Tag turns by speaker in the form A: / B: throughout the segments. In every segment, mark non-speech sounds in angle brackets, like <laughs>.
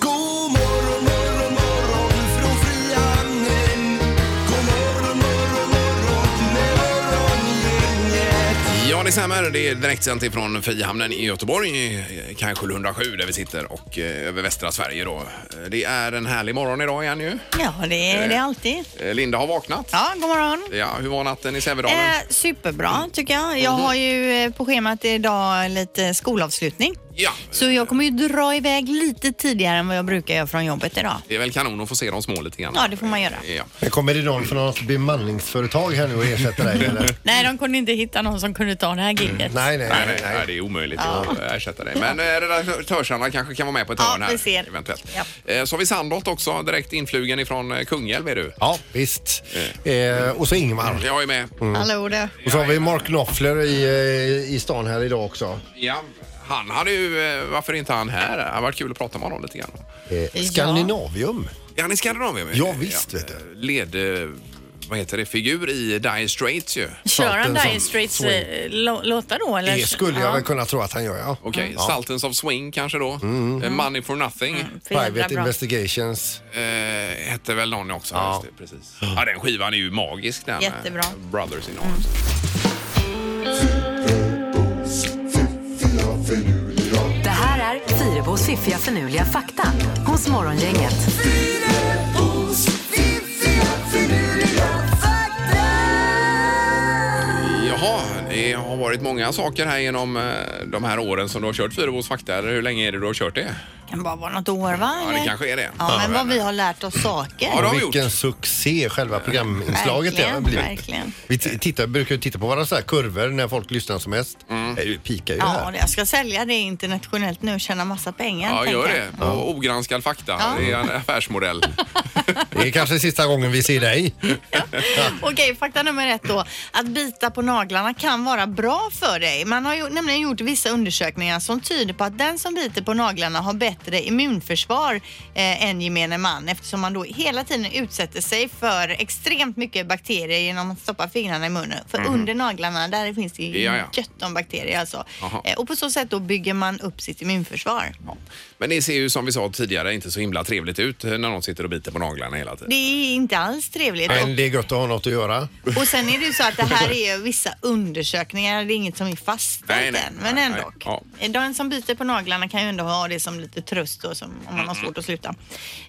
A: God morgon morgon morgon från Frihamnen. God morgon morgon morgon med morgongänget.
B: Ja, det stämmer. Det är direktsänt ifrån Frihamnen i Göteborg, eh, kanske 107 där vi sitter och eh, över västra Sverige då. Eh, Det är en härlig morgon idag igen ju.
C: Ja, det är det är alltid.
B: Eh, Linda har vaknat.
C: Ja, god morgon.
B: Ja, hur var natten i Sävedalen?
C: Eh, superbra tycker jag. Jag har ju eh, på schemat idag lite skolavslutning.
B: ja,
C: Så jag kommer ju dra iväg lite tidigare än vad jag brukar göra från jobbet idag.
B: det är väl kanon att få se de små lite grann. Eh,
C: Ja, det får man göra.
B: Ja.
D: Men kommer det någon från något bemanningsföretag här nu och ersätter dig eller?
C: Nej, de kunde inte hitta någon som kunde ta det här giget.
D: Nej, nej,
B: Nej,
D: nej.
B: nej, nej, det är omöjligt att ersätta det. Men eh, redaktörsarna kanske kan vara med på ett
C: Ja,
B: hörn här.
C: vi ser.
B: Eventuellt.
C: Ja.
B: Eh, Så har vi Sandholt också, direkt influgen ifrån eh, Kungälv är du.
D: Ja, visst. Eh, och så Ingmar.
B: Jag är med.
C: Mm. Hallå där.
D: Och så har vi Mark Knopfler i, eh, i stan här idag också.
B: Ja, han hade ju, eh, varför är inte han här? Det hade varit kul att prata med honom lite grann.
D: Eh, Skandinavium.
B: Ja, han är Skandinavien.
D: Ja, visst, vet du.
B: Led... eh, Vad heter det? Figur i Dire Straits ju.
C: Kör han
D: Salten
C: Dire
D: som
C: Straits
D: swing.
C: eh, lå- låtar då eller?
D: Det skulle jag väl kunna tro att han gör, ja. Mm.
B: Okej, Sultans of Swing kanske då. Eh, Money for Nothing
C: För jävla
D: Private
C: bra.
D: Investigations.
B: eh, hette väl någon också. Ja. Just det, precis. ja, den skivan är ju magisk den.
C: Jättebra. Mm.
B: eh, Brothers in Arms.
E: Det här är Fyrabos fiffiga förnuliga fakta hos Morgongänget.
A: Fidebos fiffiga finurliga fakta.
B: Jaha, det har varit många saker här genom eh, de här åren som du har kört Fyrebos fakta. Eller Hur länge är det du har kört det?
C: kan bara vara något år va?
B: Ja, det
C: eller?
B: kanske är det.
C: Ja, men vad vi har lärt oss saker.
B: Ja, det har vi gjort.
D: Vilken succé själva programinslaget det har
C: Verkligen,
D: blivit.
C: verkligen.
D: Vi t- tittar, brukar ju titta på varandra så här kurvor när folk lyssnar som mest.
B: Mm.
D: Det är ju- pikar ju
C: Ja,
D: här.
C: jag ska sälja det internationellt nu och tjäna massa pengar.
B: Ja,
C: tänker
B: gör
C: jag.
B: det. På ogranskad fakta. Det är en affärsmodell.
C: <laughs>
D: Det är kanske sista gången vi ser dig.
C: <laughs> Okej, fakta nummer ett då. Att bita på naglarna kan vara bra för dig. Man har ju, nämligen gjort vissa undersökningar som tyder på att den som biter på naglarna har bättre immunförsvar eh, än gemene man eftersom man då hela tiden utsätter sig för extremt mycket bakterier genom att stoppa fingrarna i munnen. För under naglarna, där finns det ju
B: Mhm. Ja, ja.
C: gött om bakterier alltså.
B: Aha.
C: Eh, och på så sätt då bygger man upp sitt immunförsvar.
B: Ja. Men det ser ju som vi sa tidigare inte så himla trevligt ut när någon sitter och biter på naglarna hela tiden.
C: Det är inte alls trevligt.
D: Men det är gött att ha något att göra.
C: Och sen är det ju så att det här är ju vissa undersökningar, det är inget som är
B: Nej,
C: fastställt
B: nej,
C: än, men
B: nej,
C: ändå.
B: nej,
C: Den som biter på naglarna kan ju ändå ha det som lite tröst då, som, om
B: Mm,
C: man har svårt att sluta.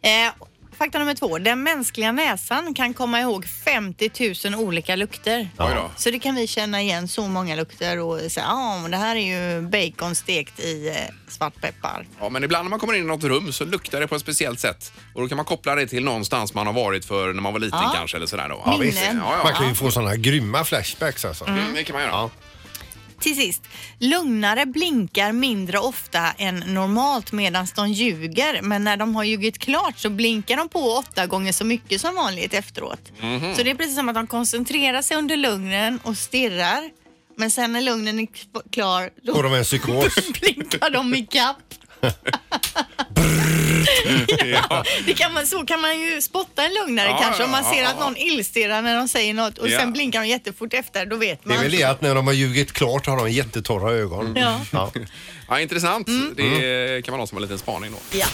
C: Eh, fakta nummer två, den mänskliga näsan kan komma ihåg 50 000 olika lukter.
B: Oj då.
C: Så det kan vi känna igen så många lukter och säga, ja men det här är ju bacon stekt i eh, svartpeppar.
B: Ja, men ibland när man kommer in i något rum så luktar det på ett speciellt sätt. Och då kan man koppla det till någonstans man har varit för när man var liten
C: Ja.
B: kanske eller sådär då.
C: Ja,
B: visst.
C: Minnen.
B: Ja,
D: Man
B: ja.
D: kan ju få sådana grymma flashbacks alltså.
B: Mm, Det kan man göra. Ja.
C: Till sist, lugnare blinkar mindre ofta än normalt medan de ljuger. Men när de har ljugit klart så blinkar de på åtta gånger så mycket som vanligt efteråt. Så det är precis som att de koncentrerar sig under lugnen och stirrar. Men sen när lugnen är k- klar då
D: Får de
B: <laughs>
D: en psykos?
C: <laughs> blinkar de ikapp. ja, det kan man, så kan man ju spotta en lugnare
B: Ja,
C: kanske om man
B: ja,
C: ser
B: ja,
C: att någon illstirrar när de säger något och
B: Ja.
C: sen blinkar de jättefort efter. Då vet
D: Det
C: man.
D: är väl det att när de har ljugit klart har de jättetorra ögon.
C: Ja.
B: Ja, intressant.
C: Mm.
B: Det eh, kan man ha som en liten spaning då.
C: Ja.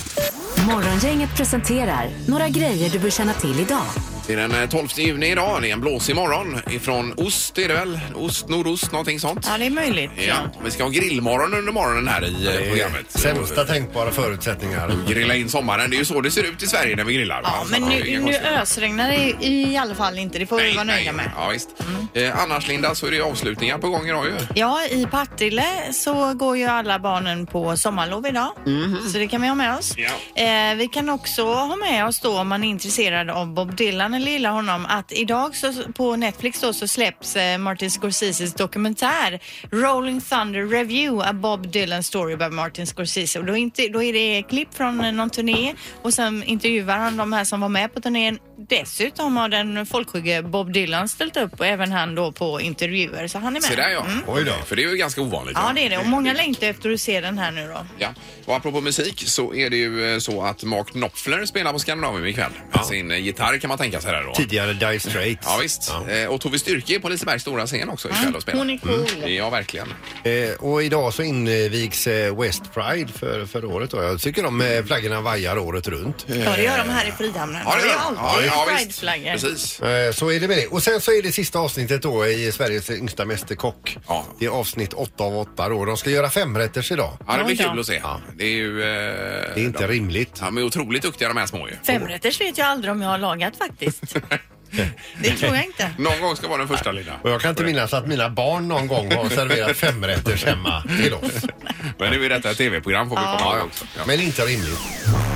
E: Morgongänget presenterar några grejer du bör känna till idag.
B: Det är den eh, 12 juni idag. Det är en blåsig morgon ifrån ost är det väl? Ost, nordost, någonting sånt.
C: Ja, det är möjligt.
B: Ja. Vi ska ha grillmorgon under morgonen här i eh,
D: Det är
B: programmet.
D: Sämsta tänkbara förutsättningar.
B: Grilla in sommaren. Det är ju så det ser ut i Sverige när vi grillar. va?
C: Ja,
B: Så
C: men
B: att det är inga
C: nu, nu
B: konstigheter.
C: ösregnar det i alla fall inte. Det får vi vara nöjda med.
B: Ja, visst. Eh, annars Linda så är det ju avslutningar på gång idag ju.
C: Ja, i Partille så går ju alla barnen på sommarlov idag. Så det kan vi ha med oss.
B: Ja.
C: Eh, vi kan också ha med oss då om man är intresserad av Bob Dylan gillar honom att idag så, på Netflix då, så släpps eh, Martin Scorseses dokumentär Rolling Thunder Review A Bob Dylan Story by Martin Scorsese. Och då, inte, då är det klipp från eh, någon turné och sen intervjuar han de här som var med på turnén. Dessutom har den folkskygge Bob Dylan ställt upp och även han då på intervjuer. Så han är med.
B: Se där ja.
C: Mm.
B: Oj då. För det är ju ganska ovanligt.
C: Ja,
B: va?
C: det är det. Och många längtar efter att se den här nu då.
B: Ja. Och apropå musik så är det ju eh, så att Mark Knopfler spelar på Skandinavien ikväll. Med sin eh, gitarr kan man tänka sig där då.
D: Tidigare Dire Straits.
B: Ja visst. Eh, Och Tove Styrke är på Lisebergs stora scen också ikväll och spelar.
C: Mm.
B: Mm.
C: Hon är cool.
B: Ja, verkligen.
D: Eh, och idag så invigs eh, West Pride för, för året. Då. Jag tycker de eh, flaggorna vajar året runt.
C: Ja, det gör de här i Frihamnen.
B: Ja, det
C: är
B: gör de.
C: alltid
B: Ja, ja, visst.
C: prideflaggor.
B: Precis.
D: Eh, Så är det med det. Och sen så är det sista avsnittet då i Sveriges yngsta mästerkock.
B: Ja.
D: Det är avsnitt 8 av 8 då. De ska göra femrätters idag.
B: Ja, det blir
C: Oj då.
B: kul att se. Det är ju... eh,
D: Det är inte
B: de-
D: rimligt.
B: De är otroligt duktiga de här små ju.
C: Femrätters vet jag aldrig om jag har
B: <laughs>
C: lagat faktiskt. Det tror jag inte.
B: Någon gång ska vara den första lilla.
D: Och jag kan inte minnas att mina barn någon gång har serverat femrätters hemma till oss.
B: Men nu är detta ett tv-program får vi komma ihåg också. Ja.
D: Men inte rimligt.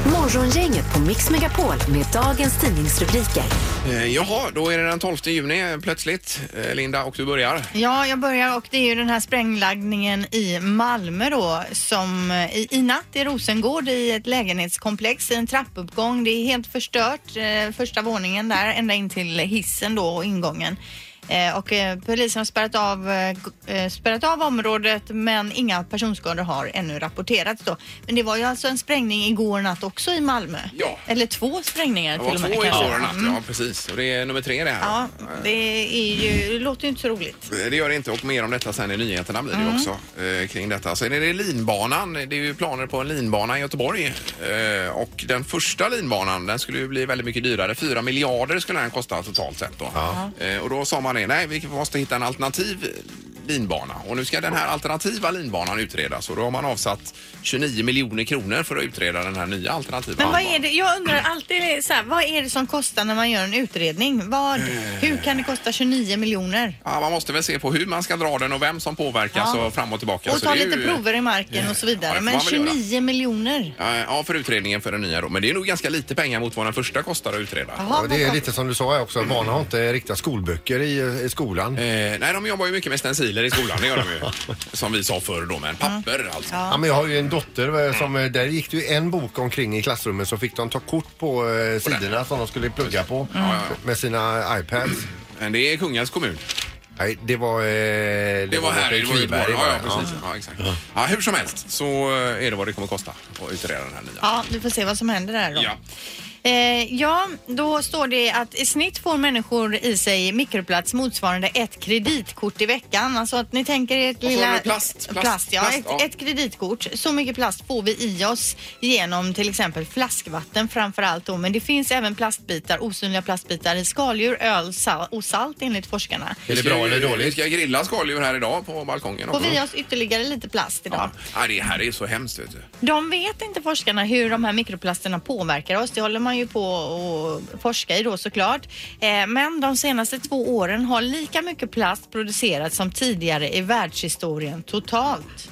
E: Morgongänget på Mix Megapol med dagens tidningsrubriker.
B: Eh, Jaha, då är det den 12 juni plötsligt. Eh, Linda, och du börjar.
C: Ja, jag börjar och det är ju den här sprängladdningen i Malmö då som eh, i, i natt i Rosengård i ett lägenhetskomplex i en trappuppgång. Det är helt förstört, eh, första våningen där ända in till hissen då och ingången. Eh, och eh, polisen har spärrat av, eh, g- eh, spärrat av området men inga personskador har ännu rapporterats då. Men det var ju alltså en sprängning igår natt också i Malmö.
B: Ja.
C: Eller två sprängningar
B: Det var
C: till och med.
B: två
C: kanske.
B: igår natt,
C: Mm.
B: ja precis. Och det är nummer tre det här.
C: Ja, det, är ju, det låter ju inte så roligt.
B: Det gör det inte och mer om detta sen i nyheterna blir det ju också eh, kring detta. Sen är det linbanan. Det är ju planer på en linbana i Göteborg eh, och den första linbanan den skulle ju bli väldigt mycket dyrare. Fyra miljarder skulle den kosta totalt sett då. Eh, och då sa man det, nej vi måste hitta en alternativ linbana och nu ska den här alternativa linbanan utredas och då har man avsatt 29 miljoner kronor för att utreda den här nya alternativa
C: Men vad
B: linbanan.
C: är det, jag undrar alltid så här, vad är det som kostar när man gör en utredning? Vad,
B: Eh.
C: hur kan det kosta 29 miljoner?
B: Ja, man måste väl se på hur man ska dra den och vem som påverkas
C: Ja.
B: och fram och tillbaka.
C: Och
B: Så
C: ta
B: det är
C: lite
B: ju-
C: prover i marken och så
B: Ja,
C: vidare.
B: det får
C: Men
B: man väl göra.
C: 29 miljoner?
B: Eh, Ja, för utredningen för den nya då. Men det är nog ganska lite pengar mot vad den första kostar att utreda.
C: Jaha,
D: Ja,
C: vad
D: det är
C: kom-
D: lite som du sa här också. Barn har inte riktiga skolböcker i, i skolan.
B: Eh, nej, de jobbar ju mycket med stenciler i skolan, det gör de ju. Som vi sa förr då, men papper alltså.
D: Ja, men jag har ju en dotter eh, som, eh, där gick det ju en bok omkring i klassrummet så fick de ta kort på eh, sidorna som de skulle plugga på med sina iPads.
B: Men det är Kungälvs kommun.
D: Nej, det var... eh, Det,
B: Det var här, det var Göteborg.
D: var
B: Ja,
D: det.
B: ja, precis. Ja, exakt. Ja, hur som helst så eh, är det vad det kommer kosta att utreda den här nya.
C: Ja, vi får se vad som händer där då.
B: Ja.
C: Eh, ja, då står det att i snitt får människor i sig mikroplats motsvarande ett kreditkort i veckan. Alltså att ni tänker er ett
B: så har
C: lilla...
B: vi plast, plast,
C: ja,
B: plast,
C: ett,
B: ja.
C: ett kreditkort. Så mycket plast får vi i oss genom till exempel flaskvatten framför allt då. Men det finns även plastbitar, osynliga plastbitar i skaldjur, öl sal och salt enligt forskarna.
D: Är det bra eller
B: Vi
D: dåligt?
B: ska grilla skaldjur här idag på balkongen.
C: Får
B: också.
C: vi i oss ytterligare lite plast idag?
B: Ja. Ja, det här är så hemskt vet du.
C: De vet inte forskarna hur de här mikroplasterna påverkar oss. Det håller man ju på att forska i då såklart. Eh, Men de senaste två åren har lika mycket plast producerats som tidigare i världshistorien totalt.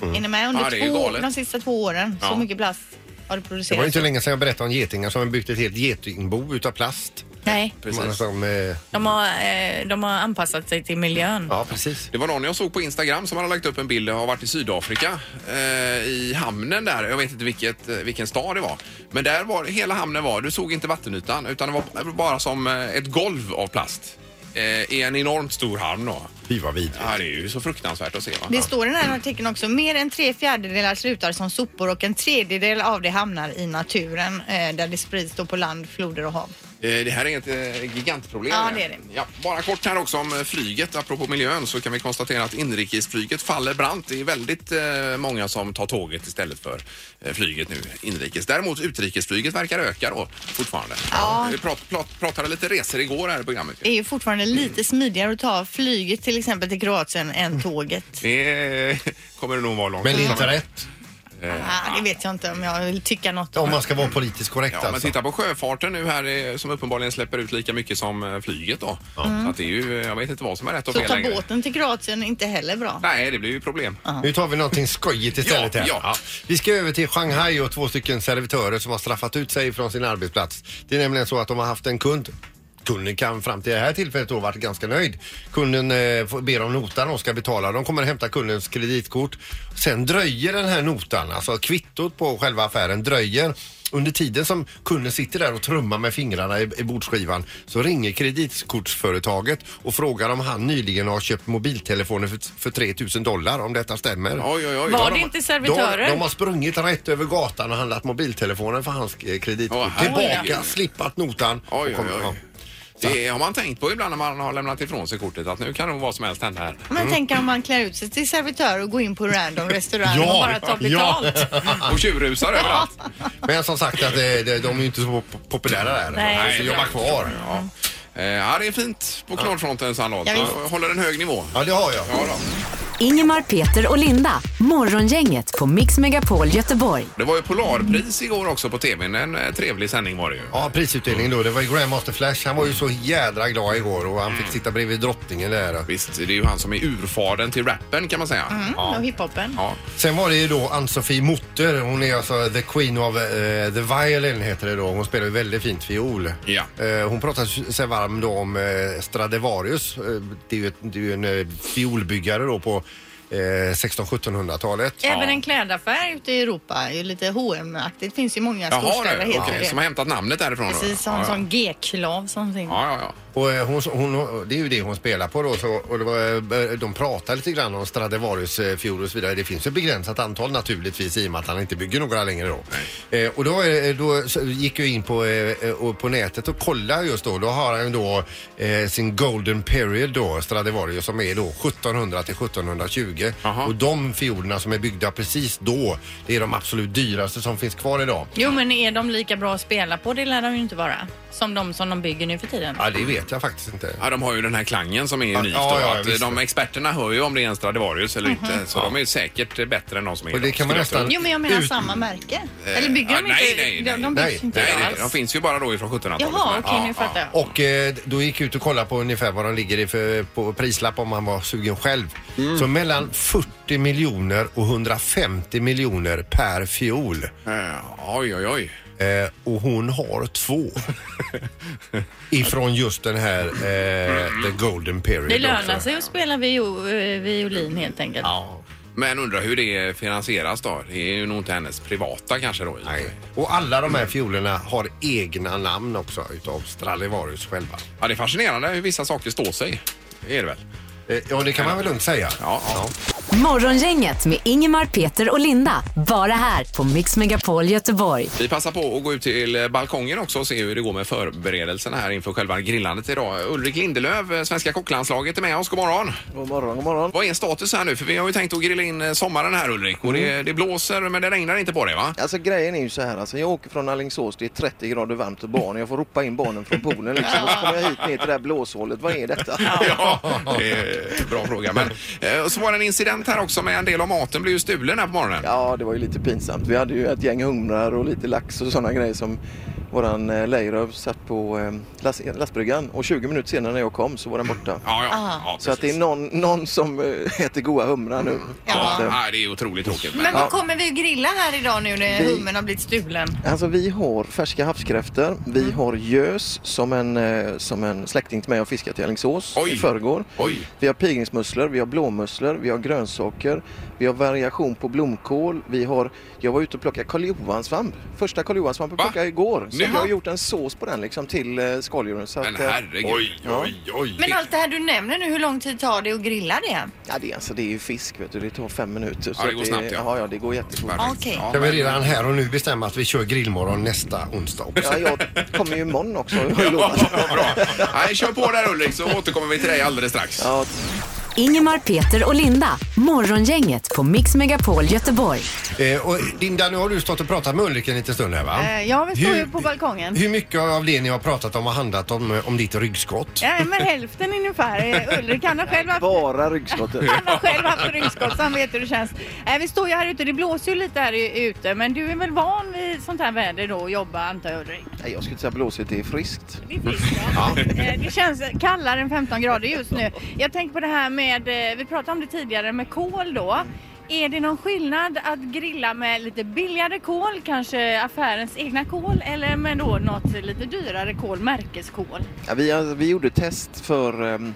C: Är ni med? Under
B: Ja, det är
C: två,
B: galet.
C: de sista två åren,
B: Ja.
C: så mycket plast har det
D: Det var ju
C: producerats.
D: inte länge sedan jag berättade om getingar som har byggt ett helt getingbo utav plast.
F: Nej,
D: Man
B: Precis.
D: Som, eh,
F: de har, eh, de har anpassat sig till miljön.
D: ja, precis.
B: Det var någon jag såg på Instagram som hade lagt upp en bild och har varit i Sydafrika eh, i hamnen där. Jag vet inte vilket, eh, vilken stad det var. Men där var hela hamnen var, du såg inte vattenytan utan det var bara som eh, ett golv av plast. Eh, I en enormt stor hamn då.
D: Fy vad vidrigt.
B: Ja, det är ju så fruktansvärt att se va?
C: Det står i den här artikeln också, mer än tre fjärdedelar slutar som sopor och en tredjedel av det hamnar i naturen eh, där det sprids då på land, floder och hav.
B: Eh, Det här är ett eh, gigantproblem.
C: Ja, det är det.
B: Ja, bara kort här också om eh, flyget. Apropå miljön så kan vi konstatera att inrikesflyget faller brant. Det är väldigt eh, många som tar tåget istället för eh, flyget nu inrikes. Däremot utrikesflyget verkar öka då fortfarande. Ja. Vi prat, prat, pratade lite resor igår här i programmet.
C: Det är ju fortfarande lite smidigare att ta flyget till exempel till Kroatien än tåget.
B: Det <laughs> eh, kommer det nog vara långt
D: Men
B: fram.
D: inte rätt.
C: Ah, det vet jag inte om jag vill tycka något om.
D: Om man ska vara politiskt korrekt
B: Ja, men
D: alltså.
B: titta på sjöfarten nu här eh, som uppenbarligen släpper ut lika mycket som eh, flyget då. Så att det är ju, eh, jag vet inte vad som är rätt och
C: Så
B: fel
C: ta
B: längre.
C: båten till Kroatien är inte heller bra.
B: Nej, det blir ju problem.
D: Nu tar vi någonting skojigt istället
B: Ja,
D: här.
B: ja.
D: Vi ska över till Shanghai och två stycken servitörer som har straffat ut sig från sin arbetsplats. Det är nämligen så att de har haft en kund Kunden kan fram till det här tillfället då varit ganska nöjd. Kunden eh, får- ber om notan och ska betala. De kommer hämta kundens kreditkort. Sen dröjer den här notan, alltså kvittot på själva affären dröjer. Under tiden som kunden sitter där och trummar med fingrarna i, i bordsskivan så ringer kreditkortsföretaget och frågar om han nyligen har köpt mobiltelefoner för, för 3000 dollar, om detta stämmer.
B: Oj, oj, oj.
F: Var
B: Ja,
F: det
B: de-
F: inte
D: De,
F: servitörer?
D: de har sprungit rätt över gatan och handlat mobiltelefonen för hans eh, kreditkort.
B: Åh, herregud.
D: Tillbaka, slippat notan. och
B: Oj, oj,
D: kommer- ja.
B: oj. Det har man tänkt på ibland när man har lämnat ifrån sig kortet att nu kan nog vad som helst hända
D: <laughs>
B: här.
C: Men tänk om man klär ut sig till servitör och går in på
B: <laughs>
C: random restaurang
D: Ja,
C: och bara tar
D: ja.
C: betalt.
B: Och tjurrusar överallt.
D: Men som sagt att eh, de de är ju inte så pop- populära där.
F: Nej.
D: Nej, så jobbar kvar.
B: Ja. Eh, ja, det är fint på knorrfronten, Sandholt.
C: Ja, visst.
B: Jag håller en hög nivå.
D: Ja, det har jag.
B: Ja, då.
E: Ingemar, Peter och Linda. Morgongänget på Mix Megapol Göteborg.
B: Det var ju Polarpris igår också på tvn. En eh, trevlig sändning var det ju.
D: Ja, prisutdelningen då. Det var ju Grandmaster Flash. Han var ju så jädra glad igår och han fick sitta bredvid drottningen där.
B: Visst, det är ju han som är urfadern till rappen kan man säga.
C: Ja. Mm, Och hiphopen.
B: Ja.
D: Sen var det ju då Ann-Sofie Mutter. Hon är alltså the queen of eh, the violin heter det då. Hon spelar ju väldigt fint fiol.
B: Ja.
D: Eh, hon pratar sig varm då om eh, Stradivarius. Eh, det, är ju ett, det är ju en eh, fiolbyggare då på eh, 1600-1700-talet.
C: Även en klädaffär ute i Europa, är ju lite hm aktigt finns ju många
B: Jaha
C: storstäder
B: du,
C: heter
B: okej,
C: det.
B: som har hämtat namnet därifrån. då.
C: Precis som,
B: ja,
C: som G-klav som sin.
B: ja. ja, ja,
D: Och eh, hon, hon, det är ju det hon spelar på då. Så, och det var, eh, de pratar lite grann om Stradivarius eh, fiol och så vidare. Det finns ju ett begränsat antal naturligtvis i och med att han inte bygger några längre då. Eh, och då, eh, då så gick jag in på, eh, eh, och på nätet och kollade just då. Då har han då eh, sin Golden Period då, Stradivarius, som är då 1700 till 1720.
B: Aha.
D: Och de fiolerna som är byggda precis då, det är de absolut dyraste som finns kvar idag.
F: Jo, men är de lika bra att spela på? Det lär de ju inte vara. Som de som de bygger nu för tiden.
D: Ja, det vet jag faktiskt inte.
B: Ja, de har ju den här klangen som är unik.
D: ja,
B: då,
D: ja,
B: att eh,
D: visst.
B: de experterna hör ju om det är en Stradivarius eller
C: Mhm.
B: inte. Så de är ju säkert bättre än de som är
D: Och det
B: idag,
D: kan man
B: skulle jag
D: nästan...
C: Jo men jag menar
D: ut-
C: samma märke.
B: Eh,
C: Eller bygger
B: ja,
C: de
B: nej,
C: inte?
B: nej,
C: de, de
D: nej.
C: byggs
B: tro.
C: inte
B: Nej, nej,
C: alls.
B: de finns ju bara då ifrån 1700-talet.
C: Jaha,
B: Men-
C: okej nu fattar jag.
D: Och eh, då gick jag ut och kollade på ungefär vad de ligger i för på prislapp om man var sugen själv. Så mellan 40 miljoner och 150 miljoner per fiol.
B: Eh, Oj, oj, oj.
D: Eh, och hon har två. Ifrån just den här eh, The Golden Period.
F: Det lönar
D: också.
F: sig att spela vio, eh, violin helt enkelt.
D: Ja.
B: Men undrar hur det finansieras då? Det är ju nog inte hennes privata kanske då. i och för sig.
D: Nej. Och alla de här fiolerna har egna namn också utav Stradivarius själva.
B: Ja, det är fascinerande hur vissa saker står sig. Det är det väl?
D: Eh, ja, det kan man väl lugnt säga.
B: Ja, ja.
E: Morgongänget med Ingemar, Peter och Linda. Bara här på Mix Megapol Göteborg.
B: Vi passar på att gå ut till eh, balkongen också och se hur det går med förberedelserna här inför själva grillandet idag. Ulrik Lindelöf, eh, svenska kocklandslaget, är med oss. God morgon!
G: God morgon, god morgon.
B: Vad är status här nu? För vi har ju tänkt att grilla in eh, sommaren här Ulrik. Och det, det blåser men det regnar inte på det va?
G: Alltså grejen är ju så här alltså, jag åker från Alingsås, det är 30 grader varmt och barn, jag får ropa in barnen från poolen liksom. Och så kommer jag hit ner till det här blåshålet, vad är detta?
B: <laughs> Ja, det är en bra fråga. Men, eh, och så var det en incident här också med en del av maten blev ju stulen här på morgonen.
G: Ja, det var ju lite pinsamt. Vi hade ju ett gäng humrar och lite lax och sådana grejer som våran eh, Leiröv satt på eh, last, lastbryggan och 20 minuter senare när jag kom så var den borta.
B: Ja, ja. ja
G: Så att det är
B: precis.
G: någon, någon som eh, äter goda humrar nu.
C: Ja.
G: Så att, eh,
B: Nej, det är otroligt tråkigt. Men...
C: Men vad kommer vi att grilla här idag nu när hummen har blivit stulen?
G: Alltså vi har färska havskräftor, vi
B: Mm.
G: har gös som en, eh, som en släkting till mig har fiskat i Alingsås
B: Oj.
G: i förrgår.
B: Oj.
G: Vi har pilgrimsmusslor, vi har blåmusslor, vi har grönsaker, vi har variation på blomkål, vi har... Jag var ute och plockade karljohanssvamp, första karljohanssvampen
B: Va?
G: plockade jag igår. Så
B: Nu?
G: jag har gjort en sås på den liksom till eh, skaldjuren. Så
B: Men
G: att, eh,
B: herregud.
G: Oj, oj.
B: oj.
C: Men allt det här du nämner nu, hur lång tid tar det att grilla det?
G: Ja, det, är- alltså, det är ju fisk vet du, det tar fem minuter.
B: Ja, det
G: att
B: går snabbt, ja.
G: ja. ja, det går jättefort.
B: Perfekt.
C: Okej.
B: Ja,
D: Kan vi
B: men-
D: redan här och nu bestämma att vi kör grillmorgon nästa onsdag också?
G: Ja, jag kommer ju imorgon också har
B: <laughs>
G: jag
B: Ja,
G: lovat.
B: bra. Nej, kör på där Ulrik så återkommer vi till dig alldeles strax.
G: Ja,
E: Ingemar, Peter och Linda. Morgongänget på Mix Megapol Göteborg.
D: Eh, och Linda, nu har du stått och pratat med Ulrik en liten stund här va?
C: Eh, ja, vi står
D: Hur-
C: ju på balkongen.
D: Hur mycket av det ni har pratat om har handlat om, eh, om ditt ryggskott?
C: Ja, men hälften ungefär. Eh, Ulrik han har själv haft
G: bara ryggskottet.
C: Han har själv haft ryggskott så han vet hur det känns. Eh, vi står ju här ute, det blåser ju lite här i- ute men du är väl van vid sånt här väder då och jobba antar jag Ulrik?
G: Nej, jag skulle inte säga blåsigt, det är friskt.
C: Det är friskt, ja. Eh, Det känns kallare än 15 grader just nu. Jag tänker på det här med, eh, vi pratade om det tidigare med kol då.
F: Är det någon skillnad att grilla med lite billigare kol, kanske affärens egna kol, eller med då något lite dyrare kol, märkeskol?
G: Ja, vi, har- vi gjorde test för ehm,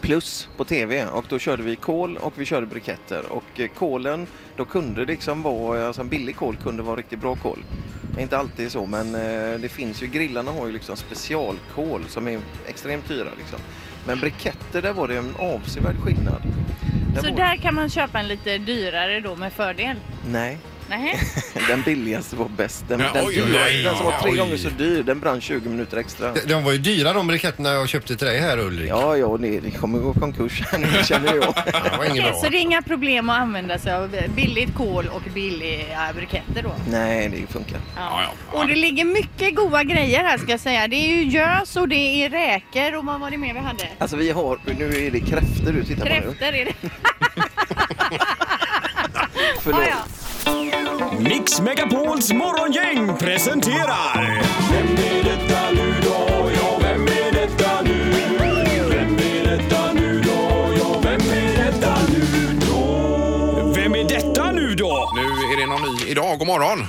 G: Plus på TV och då körde vi kol och vi körde briketter och eh, kolen då kunde det liksom vara, alltså en billig kol kunde vara riktigt bra kol. Det är inte alltid så men eh, det finns ju, grillarna har ju liksom specialkol som är extremt dyra liksom. Men briketter där var det en avsevärd skillnad. Där
F: Så
G: var-
F: där kan man köpa en lite dyrare då med fördel?
G: Nej, <laughs>
F: Nej.
G: den billigaste var bäst. Den,
B: Ja,
G: den,
B: oj, oj,
G: dyra,
B: oj,
G: den som var tre
B: oj.
G: gånger så dyr den brann 20 minuter extra.
D: De- De var ju dyra de briketterna jag köpte till dig här Ulrik.
G: Ja, ja, det, det kommer gå konkurs här nu känner jag.
D: Det var
C: <laughs>
D: inget
F: Okej,
D: bra.
F: så det är inga problem att använda sig av billigt kol och billiga briketter då?
G: Nej, det funkar.
B: Ja, ja.
F: Och det ligger mycket goda grejer här ska jag säga. Det är ju gös och det är räkor och vad var det mer vi hade?
G: Alltså vi har, nu är det kräfter du tittar på nu.
F: Kräftor
B: <laughs>
F: är det.
G: Förlåt.
F: Ah, ja.
A: Mix Megapols morgongäng presenterar... Vem är detta nu då? Ja, vem är detta nu? Vem är detta nu då? Ja, vem är detta nu då? Vem är detta nu då?
B: Nu är det någon ny idag. God morgon!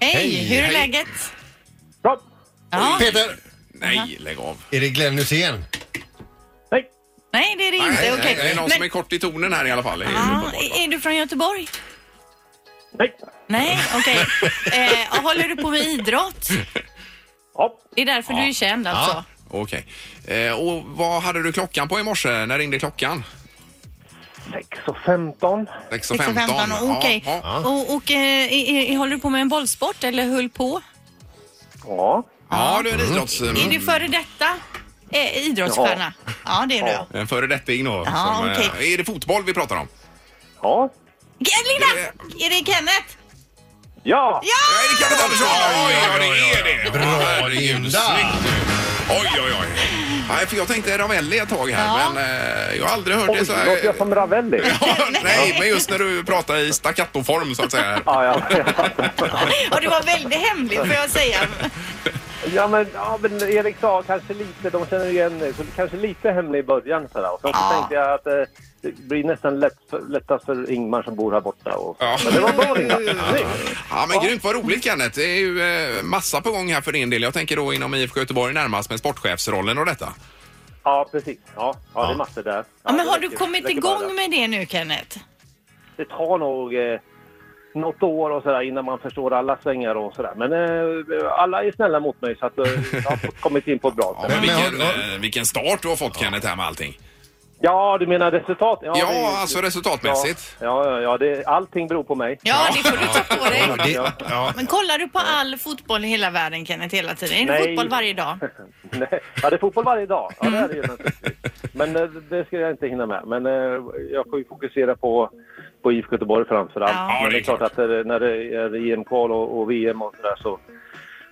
C: Hej, hur är
B: hej.
C: läget?
D: Peter!
B: Nej, lägg av.
D: Är det Glenn Hysén?
C: Nej, det är det inte.
B: Nej,
C: Okej.
B: nej, det är någon
C: Men- Ah,
B: som är kort i tonen här i alla fall. Det är
C: Ja,
B: uppenbart, va?
C: är du från Göteborg? Nej. Nej, okej. eh, och håller du på med idrott? Ja. Det är därför du är känd alltså?
B: Okej. Eh, och vad hade du klockan på i morse? När ringde klockan? 6.15.
C: 6.15, Liksom okej. Och, och eh, i- i- håller du på med en bollsport eller höll på?
B: Ja, du är en idrotts...
C: Mm. Är du före detta eh, idrottsstjärna? Ja. det är du. Ja.
B: En föredetting då.
C: Ja,
B: som, eh,
C: okej.
B: Är det fotboll vi pratar om?
C: Linda! eh, Är det Kenneth?
B: Nej, det kan det vara. Oj, ja, det är det.
D: Bra
B: Herregud,
D: Linda!
B: snyggt. Oj, oj, oj. Nej, för jag tänkte Ravelli ett tag här,
C: Ja.
B: men eh, jag har aldrig hört det så här. Låter jag <laughs> som Ravelli? nej, men just när du pratar i staccatoform så att säga.
G: Ja, ja, ja.
C: Och det var väldigt hemligt får jag säga.
H: Ja men, ja, men Erik sa kanske lite, de känner igen det, så kanske lite hemlig i början sådär. Och sen så
C: Ja.
H: tänkte jag att eh, det blir nästan lätt för, lättast för Ingmar som bor här borta. Och,
B: Ja.
H: Men det var bra Ingmar! Snyggt.
B: Ja, men grymt vad roligt Kenneth. Det är ju eh, massa på gång här för din del. Jag tänker då inom IFK Göteborg närmast med sportchefsrollen och detta.
H: Ja precis, ja, ja det är massor där.
C: Ja, men
H: det
C: har du
H: räcker-
C: kommit
H: räcker bara
C: igång med det nu Kenneth?
H: där. Det tar nog eh, något år och sådär innan man förstår alla svängar och sådär. Men eh, alla är snälla mot mig så att eh, jag har kommit in på ett bra
B: Ja,
H: sätt.
B: men
D: Men- men
B: vilken,
D: har-
B: eh, vilken start du har fått Kenneth här med allting.
H: Ja, du menar resultat?
B: Ja,
H: det är-
B: alltså <laughs> resultatmässigt.
H: Ja, ja, ja det, allting beror på mig. <laughs>
C: Ja, det får du ta på dig.
D: Det, ja.
C: Men kollar du på all fotboll i hela världen Kenneth hela tiden? Är det
H: Nej.
C: fotboll varje dag?
H: Nej, ja, det är fotboll varje dag. Ja, det är det ju naturligtvis. Men eh, det ska jag inte hinna med. Men eh, jag får ju fokusera på, på IFK Göteborg framför allt.
C: Ja.
B: Ja,
H: Men det är klart att eh, när det är EM-kval och, och VM och sådär så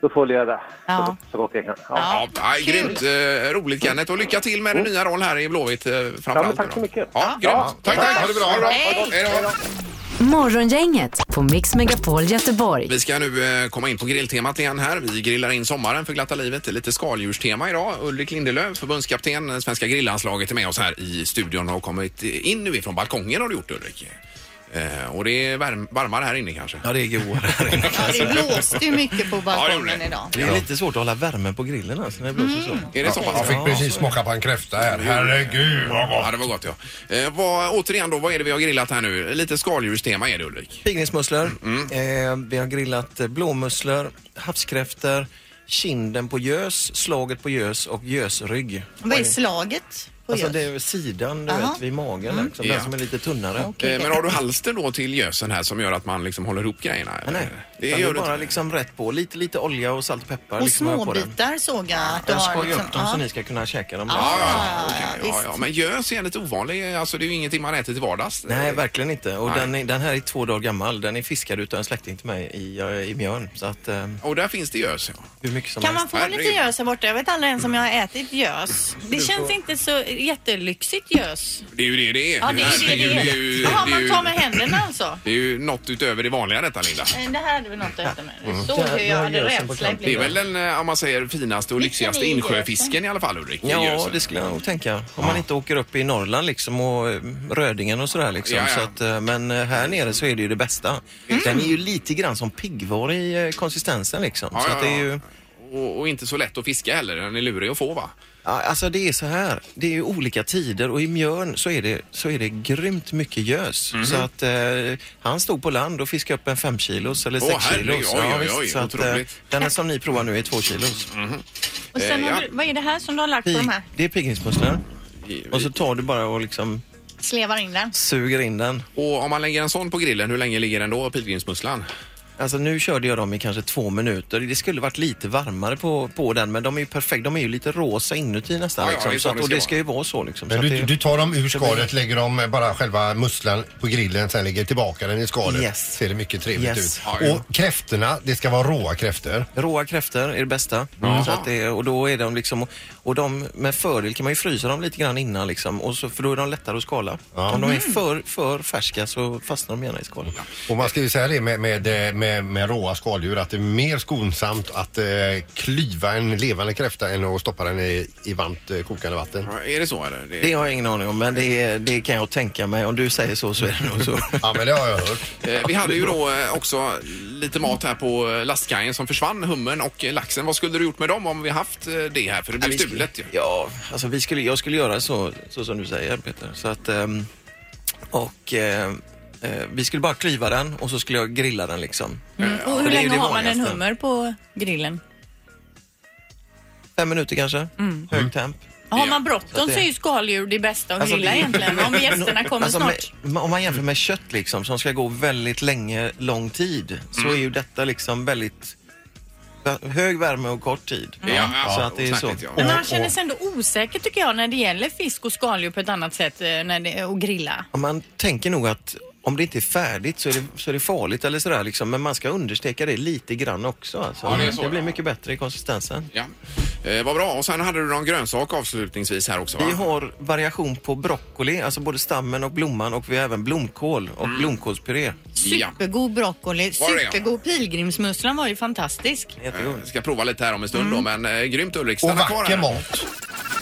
H: då följer jag det
C: Ja.
H: så, så gott jag kan. Ja.
C: Ja.
B: Ja, nej, grymt eh, roligt Kenneth och lycka till med din nya roll här i Blåvitt eh,
H: Ja,
B: framför
H: men
B: allt.
H: tack så
B: nu då.
H: mycket.
B: Ja, grymt. Tack, tack.
D: Ha det bra. Ha det bra.
C: Hej.
B: Hej då.
E: Morgongänget på Mix Megapol Göteborg.
B: Vi ska nu eh, komma in på grilltemat igen här. Vi grillar in sommaren för glatta livet. Det är Lite skaldjurstema idag. Ulrik Lindelöf, förbundskapten, eh, svenska grillanslaget är med oss här i studion och har kommit in nu ifrån balkongen har du gjort Ulrik. Eh, Och det är värm- varmare här inne kanske.
A: Ja, det är
H: <laughs>
A: goa här inne.
C: Ja, det blåste ju mycket på
B: Ja, det gjorde
C: balkongen
B: det.
C: idag.
A: Det är lite svårt att hålla värmen på grillen alltså, när det blåser så.
B: Är det så pass?
D: Jag fick precis smaka på en kräfta här. Herregud vad gott.
B: Ja, det var gott ja. Eh, vad, återigen då, vad är det vi har grillat här nu? Lite skaldjurstema är det Ulrik.
A: Pilgrimsmusslor. Eh, vi har grillat eh, blåmusslor, havskräftor, kinden på gös, slaget på gös och gösrygg.
C: Vad är slaget? på
A: Alltså
C: gös?
A: det är sidan du
C: Aha. Mm.
A: vet, vid magen, liksom,
B: Ja.
A: den som är lite tunnare.
B: Eh, Men har du halster då till gösen här som gör att man liksom håller ihop grejerna? eller?
A: Nej, nej.
B: Det
A: Utan
B: gör
A: det
B: du
A: är bara
B: inte.
A: liksom rätt på. Lite, lite olja och salt och peppar.
C: Och
A: liksom, här på den.
C: småbitar såg jag att du
A: Jag
C: har. liksom.
A: skojar upp dem
C: ja.
A: så ni ska kunna käka dem.
C: Ja, ja,
B: Okej,
C: ja,
B: ja,
C: Ah, visst.
B: ja, men gös är lite ovanlig. Alltså, det är ju ingenting man äter till vardags.
A: Nej,
B: Eh,
A: verkligen inte. Och
B: Nej.
A: den, är, den här är två dagar gammal. Den är fiskad utav en släkting till mig i, eh, i Mjörn. Så att eh,
B: Och där finns det gös. Ja.
A: hur mycket som
C: Kan man
A: helst.
C: få lite
B: Herregud.
C: gös här borta? Jag vet aldrig ens om jag har ätit gös.
F: Det känns inte så jättelyxigt gös.
B: Det är ju det det är.
C: Ja, det är det
B: Herregud,
C: det
B: ju-
C: är. Jaha,
B: det är
C: man
B: ju-
C: tar med händerna alltså?
B: Det är ju något utöver det vanliga detta, Linda.
C: Det här, skriver något efter mig.
B: Mm.
C: Så hur jag hade rädsla i
B: Det är
C: blicken.
B: väl den, eh, om man säger, finaste och lyxigaste
C: Mitten i
B: insjöfisken i alla fall, Ulrik? i
G: Ja,
B: Gösen.
G: det skulle jag nog tänka. Om man inte åker upp i Norrland liksom och eh, Rödingen och sådär liksom.
B: Ja, Mm. ja.
G: Så att, eh, men eh, här nere så är det ju det bästa. Den är ju lite grann som piggvar i eh, konsistensen liksom.
B: Ja,
G: så
B: ja,
G: att det är ju...
B: Och, och inte så lätt att fiska heller. Den är lurig att få, va?
G: Ja, alltså det är så här, det är ju olika tider och i Mjörn så är det, så är det grymt mycket gös.
B: Mhm.
G: Så att eh, han stod på land och fiskade upp en fem kilos eller
B: Åh,
G: sex
B: herregud.
G: kilos.
B: Oj,
G: Ja,
B: oj,
G: visst.
B: oj,
G: så att, eh,
B: otroligt.
G: den här som ni provar nu är två kilos.
C: Och sen
G: Eh,
C: har
G: ja.
C: du, vad är det här som du har lagt på
G: Pig,
C: de här?
G: det är pilgrimsmusslor. Och så tar du bara och liksom
C: Slevar in den.
G: suger in den.
B: Och om man lägger en sån på grillen, hur länge ligger den då, pilgrimsmusslan?
G: Alltså nu körde jag dem i kanske två minuter. Det skulle varit lite varmare på, på den men de är ju perfekta. De är ju lite rosa inuti nästan.
D: Ja, ja,
G: liksom.
D: det är så
G: så att,
D: det
G: och
D: ska
G: det ska ju vara så liksom.
D: Men
G: så att
D: du,
G: det...
D: du tar dem ur skalet, lägger dem eh, bara själva musslan på grillen, sen lägger tillbaka den i skalet.
G: Yes.
D: Ser det mycket trevligt
G: Yes.
D: ut.
G: Ja, ja.
D: Och kräftorna, det ska vara råa kräftor.
G: Råa kräftor är det bästa.
D: Jaha.
G: Så att det, och då är de liksom, och de med fördel kan man ju frysa dem lite grann innan liksom, och så, för då är de lättare att skala. Om de är
D: Mm.
G: för, för färska så fastnar de gärna i skalet.
D: Och man ska ju säga det med, med, eh, med, med råa skaldjur att det är mer skonsamt att eh, klyva en levande kräfta än att stoppa den i, i varmt eh, kokande vatten.
B: Är det så eller?
G: Det har jag ingen aning om men det, är- det kan jag tänka mig. Om du säger så så är det nog så.
D: ja men det har jag hört.
B: Eh, Vi hade ju då eh, också lite mat här på eh, lastkajen som försvann, hummen och eh, laxen. Vad skulle du gjort med dem om vi haft eh, det här? För det blev
G: vi skulle-
B: stulet ju.
G: Ja, alltså vi skulle, jag skulle göra så, så som du säger Peter. Så att, ehm, och ehm, eh, vi skulle bara klyva den och så skulle jag grilla den liksom.
C: Mm.
G: Ja,
C: Och hur
G: det är
C: länge har
G: det
C: man en
G: vanligaste.
C: hummer på grillen?
G: Fem minuter kanske,
B: Mm.
G: hög temp.
C: Har man
G: Så att
C: bråttom
G: det-
C: så är ju skaldjur det bästa att
G: Alltså,
C: grilla
G: det-
C: egentligen.
G: <laughs>
C: Om gästerna kommer
G: Alltså,
C: snart.
G: med- om man jämför med kött liksom, som ska gå väldigt länge, lång tid, så
B: Mm.
G: är ju detta liksom väldigt vä- hög värme och kort tid.
B: Ja, ja,
G: så att det är så.
B: osäkert, ja.
C: Men man känner sig ändå osäker tycker jag när det gäller fisk och skaldjur på ett annat sätt eh, när det, och grilla.
G: Och man tänker nog att om det inte är färdigt så är det, så är det farligt eller sådär liksom. Men man ska understeka det lite grann också. Alltså.
B: Ja, det är så,
G: blir mycket bättre i konsistensen.
B: Ja. Eh, vad bra. Och sen hade du någon grönsak avslutningsvis här också va?
G: Vi har variation på broccoli, alltså både stammen och blomman och vi har även blomkål och
B: Mm.
G: blomkålspuré.
C: Supergod broccoli,
B: Var det, ja.
C: supergod pilgrimsmusslan var ju fantastisk.
B: Eh, Ska prova lite här om en stund då, men eh, grymt Ulrik.
D: Och
B: Stanna kvar
D: vacker
B: här.
D: mat.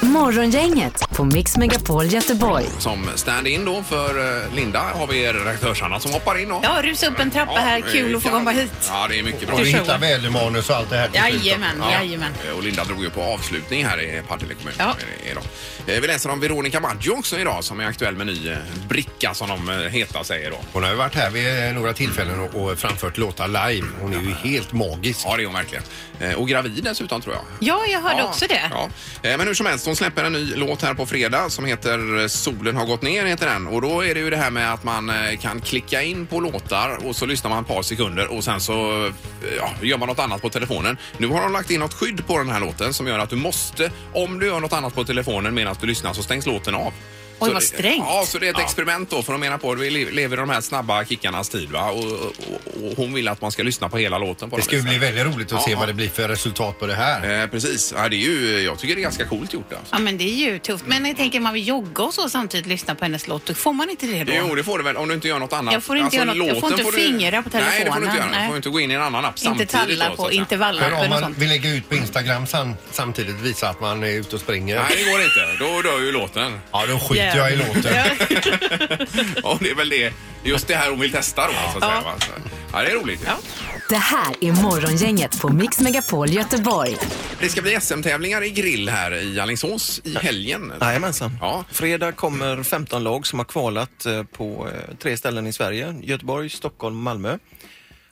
E: Morgongänget på Mix Megapol Göteborg.
B: Som stand-in då för eh, Linda har vi redaktörs-Anna som hoppar in då.
C: Ja, rusa upp en trappa här. Kul att få komma hit.
B: Ja, det är mycket bra.
D: Och vi hittar vädermanus och allt det här till slut.
C: Jajamän, jajamän.
B: Eh, Och Linda drog ju på avslutning här i Partille kommun
C: Ja.
B: i- idag. Eh, Vi läser om Veronica Maggio också idag som är aktuell med ny eh, bricka som de eh, heta säger då.
D: Hon har ju varit här vid eh, några tillfällen och, och framfört låtar live. Hon är ju helt magisk.
B: Ja, det är hon verkligen. Eh, Och gravid dessutom tror jag.
C: Ja, jag hörde också det.
B: Ja. Eh, Men hur som helst, hon släpper en ny låt här på fredag som heter eh, Solen har gått ner. heter den. Och Då är det ju det här med att man eh, kan klicka in på låtar och så lyssnar man ett par sekunder och sen så eh, ja, gör man något annat på telefonen. Nu har de lagt in något skydd på den här låten som gör att du måste, om du gör något annat på telefonen medan du lyssnar så stängs låten av.
C: Oj,
B: Så
C: vad
B: det-
C: strängt.
B: Ja, så det är ett experiment då för de menar på att vi le- lever i de här snabba kickarnas tid va? Och, och, och hon vill att man ska lyssna på hela låten. På
D: Det
B: något
D: ska ju
B: vis.
D: bli väldigt roligt att se
B: Ja.
D: vad det blir för resultat på det här.
B: Eh, precis. Ja, det är ju, jag tycker det är ganska coolt gjort. Alltså.
I: Ja men det är ju tufft. Men jag tänker man vill jogga och så samtidigt lyssna på hennes låt. Då Får man inte det då?
B: Jo, det får du väl om du inte gör något annat. Alltså,
I: Jag får inte göra något- jag
B: låten
I: får inte fingra på
B: Nej, det får du inte
I: telefonen.
B: göra. Du
I: Nej.
B: får inte gå in i en annan app
I: inte
B: samtidigt.
I: talla
B: då, så
I: på
B: att säga.
D: Men om
I: intervallappen och
D: man
I: sånt.
D: vill lägga ut på Instagram sam- samtidigt visa att man är ute och springer.
B: Nej, det går inte. Då dör ju låten.
I: <laughs>
D: Ja, då skiter jag i låten.
B: Ja, det är väl det. Just det här hon vill testa då. Så att säga, va? Så, ja, det är roligt.
E: Det här är Morgongänget på Mix Megapol Göteborg.
B: Det ska bli SM-tävlingar i grill här i Alingsås i helgen.
G: Jajamensan.
B: Ja.
G: Fredag kommer 15 lag som har kvalat eh, på eh, tre ställen i Sverige. Göteborg, Stockholm, Malmö.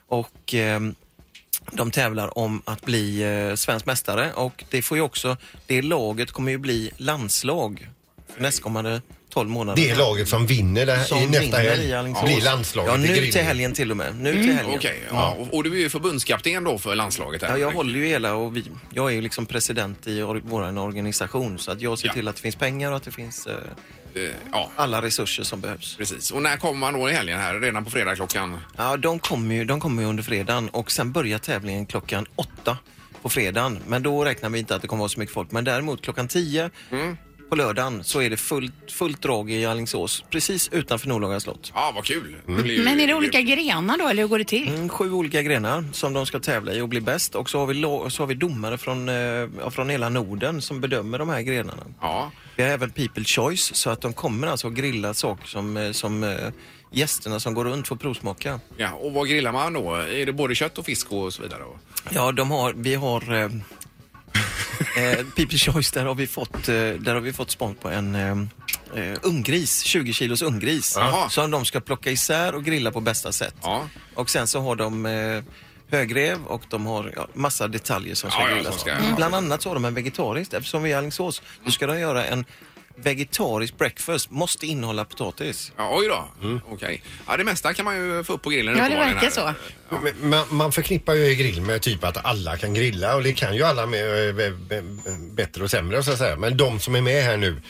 G: Och eh, de tävlar om att bli eh, svensk mästare och det får ju också, det laget kommer ju bli landslag för nästkommande 12 månader.
D: Det är laget som vinner det här, i
G: som
D: nästa
G: vinner
D: helg.
G: i Alingsås.
D: blir landslaget
G: Ja,
D: i
G: nu
D: grillen.
G: till helgen till och med. Nu
D: Mm,
G: till helgen.
B: Okej, ja. och, och du är ju förbundskapten då för landslaget. Här.
G: Ja, jag håller ju hela och vi, jag är ju liksom president i or- vår organisation så att jag ser till att det finns pengar och att det finns eh,
B: Eh, ja,
G: alla resurser som behövs.
B: precis. Och när kommer man då i helgen här? Redan på fredag klockan?
G: Ja, de kommer ju, de kommer ju under fredagen och sen börjar tävlingen klockan åtta på fredagen. Men då räknar vi inte att det kommer vara så mycket folk. Men däremot klockan tio på lördagen så är det fullt, fullt drag i Alingsås precis utanför Nordlaga slott.
B: Ja, vad kul!
I: Men är det olika grenar då eller hur går det till?
G: Mm, sju olika grenar som de ska tävla i och bli bäst och så har vi, lo- så har vi domare från, eh, ja, från hela Norden som bedömer de här grenarna.
B: Ja.
G: Vi har även People Choice så att de kommer alltså att grilla saker som, eh, som eh, gästerna som går runt får provsmaka.
B: Ja, och vad grillar man då? Är det både kött och fisk och så vidare?
G: Ja, de har, vi har
B: <laughs>
G: eh, eh, People Choice, där har vi fått, eh, där har vi fått spons på en eh, eh, unggris, 20 kilos unggris.
B: Jaha.
G: Som de ska plocka isär och grilla på bästa sätt. Och sen så har de eh, högrev och de har ja, massa detaljer som ska
B: Ja, ja,
G: grillas.
B: som ska-
G: Mm.
B: ja.
G: Bland annat så har de en vegetarisk, eftersom vi är i Alingsås. Då ska de göra en vegetarisk breakfast, måste innehålla potatis.
B: Ja, oj då. Okej. Ja, det mesta kan man ju få upp på grillen.
I: Ja, det
B: uppenbarligen
I: verkar
B: här.
I: så.
D: Men Man, man förknippar ju grill med typ att alla kan grilla och det kan ju alla med, eh, b- b- bättre och sämre så att säga. Men de som är med här nu,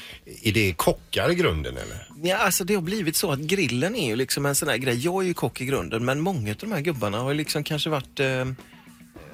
D: är det kockar i grunden eller?
G: Ja, alltså det har blivit så att grillen är ju liksom en sån här grej. Jag är ju kock i grunden men många av de här gubbarna har ju liksom kanske varit eh,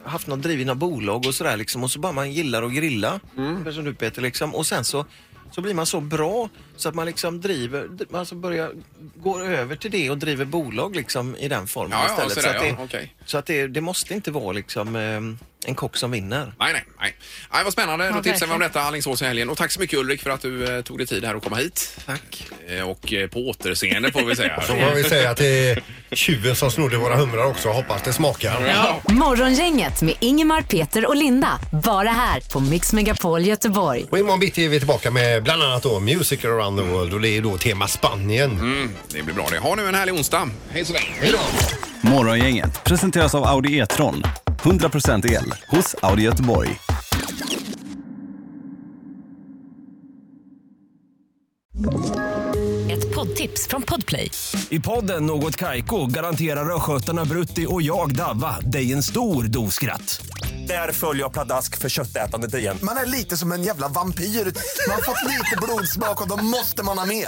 G: haft något drivit något bolag och sådär liksom och så bara man gillar att grilla.
B: Mm.
G: Som du Peter liksom och sen så så blir man så bra så att man liksom driver, d- alltså börjar, går över till det och driver bolag liksom i den formen
B: Ja, ja,
G: istället.
B: sådär,
G: så att,
B: ja,
G: det,
B: okej.
G: så att det, det måste inte vara liksom eh, en kock som vinner.
B: Nej, nej, nej. nej vad spännande. Då
G: Ja,
B: tipsar vi om
G: verkligen.
B: detta Alingsås i helgen. Och tack så mycket Ulrik för att du eh, tog dig tid här och komma hit.
G: Tack.
B: Och eh, på återseende får vi säga.
D: Så får vi säga att det är tjuven som snodde våra humrar också. Hoppas det smakar.
E: Morgongänget med Ingemar, Peter och Linda. Bara här på Mix Megapol Göteborg.
D: Och imorgon bitti är vi tillbaka med bland annat då Music around the world och det är då tema Spanien.
B: det blir bra det. Ha nu en härlig onsdag. Hej så länge.
D: Hej då.
J: Morgongänget presenteras av Audi E-tron. 100% el hos Audi Göteborg.
K: Ett poddtips från Podplay.
L: I podden Något Kaiko garanterar östgötarna Brutti och jag, Davva, dig en stor dos skratt. Där följer jag pladask för köttätandet igen.
M: Man är lite som en jävla vampyr. Man har fått lite blodsmak och då måste man ha mer.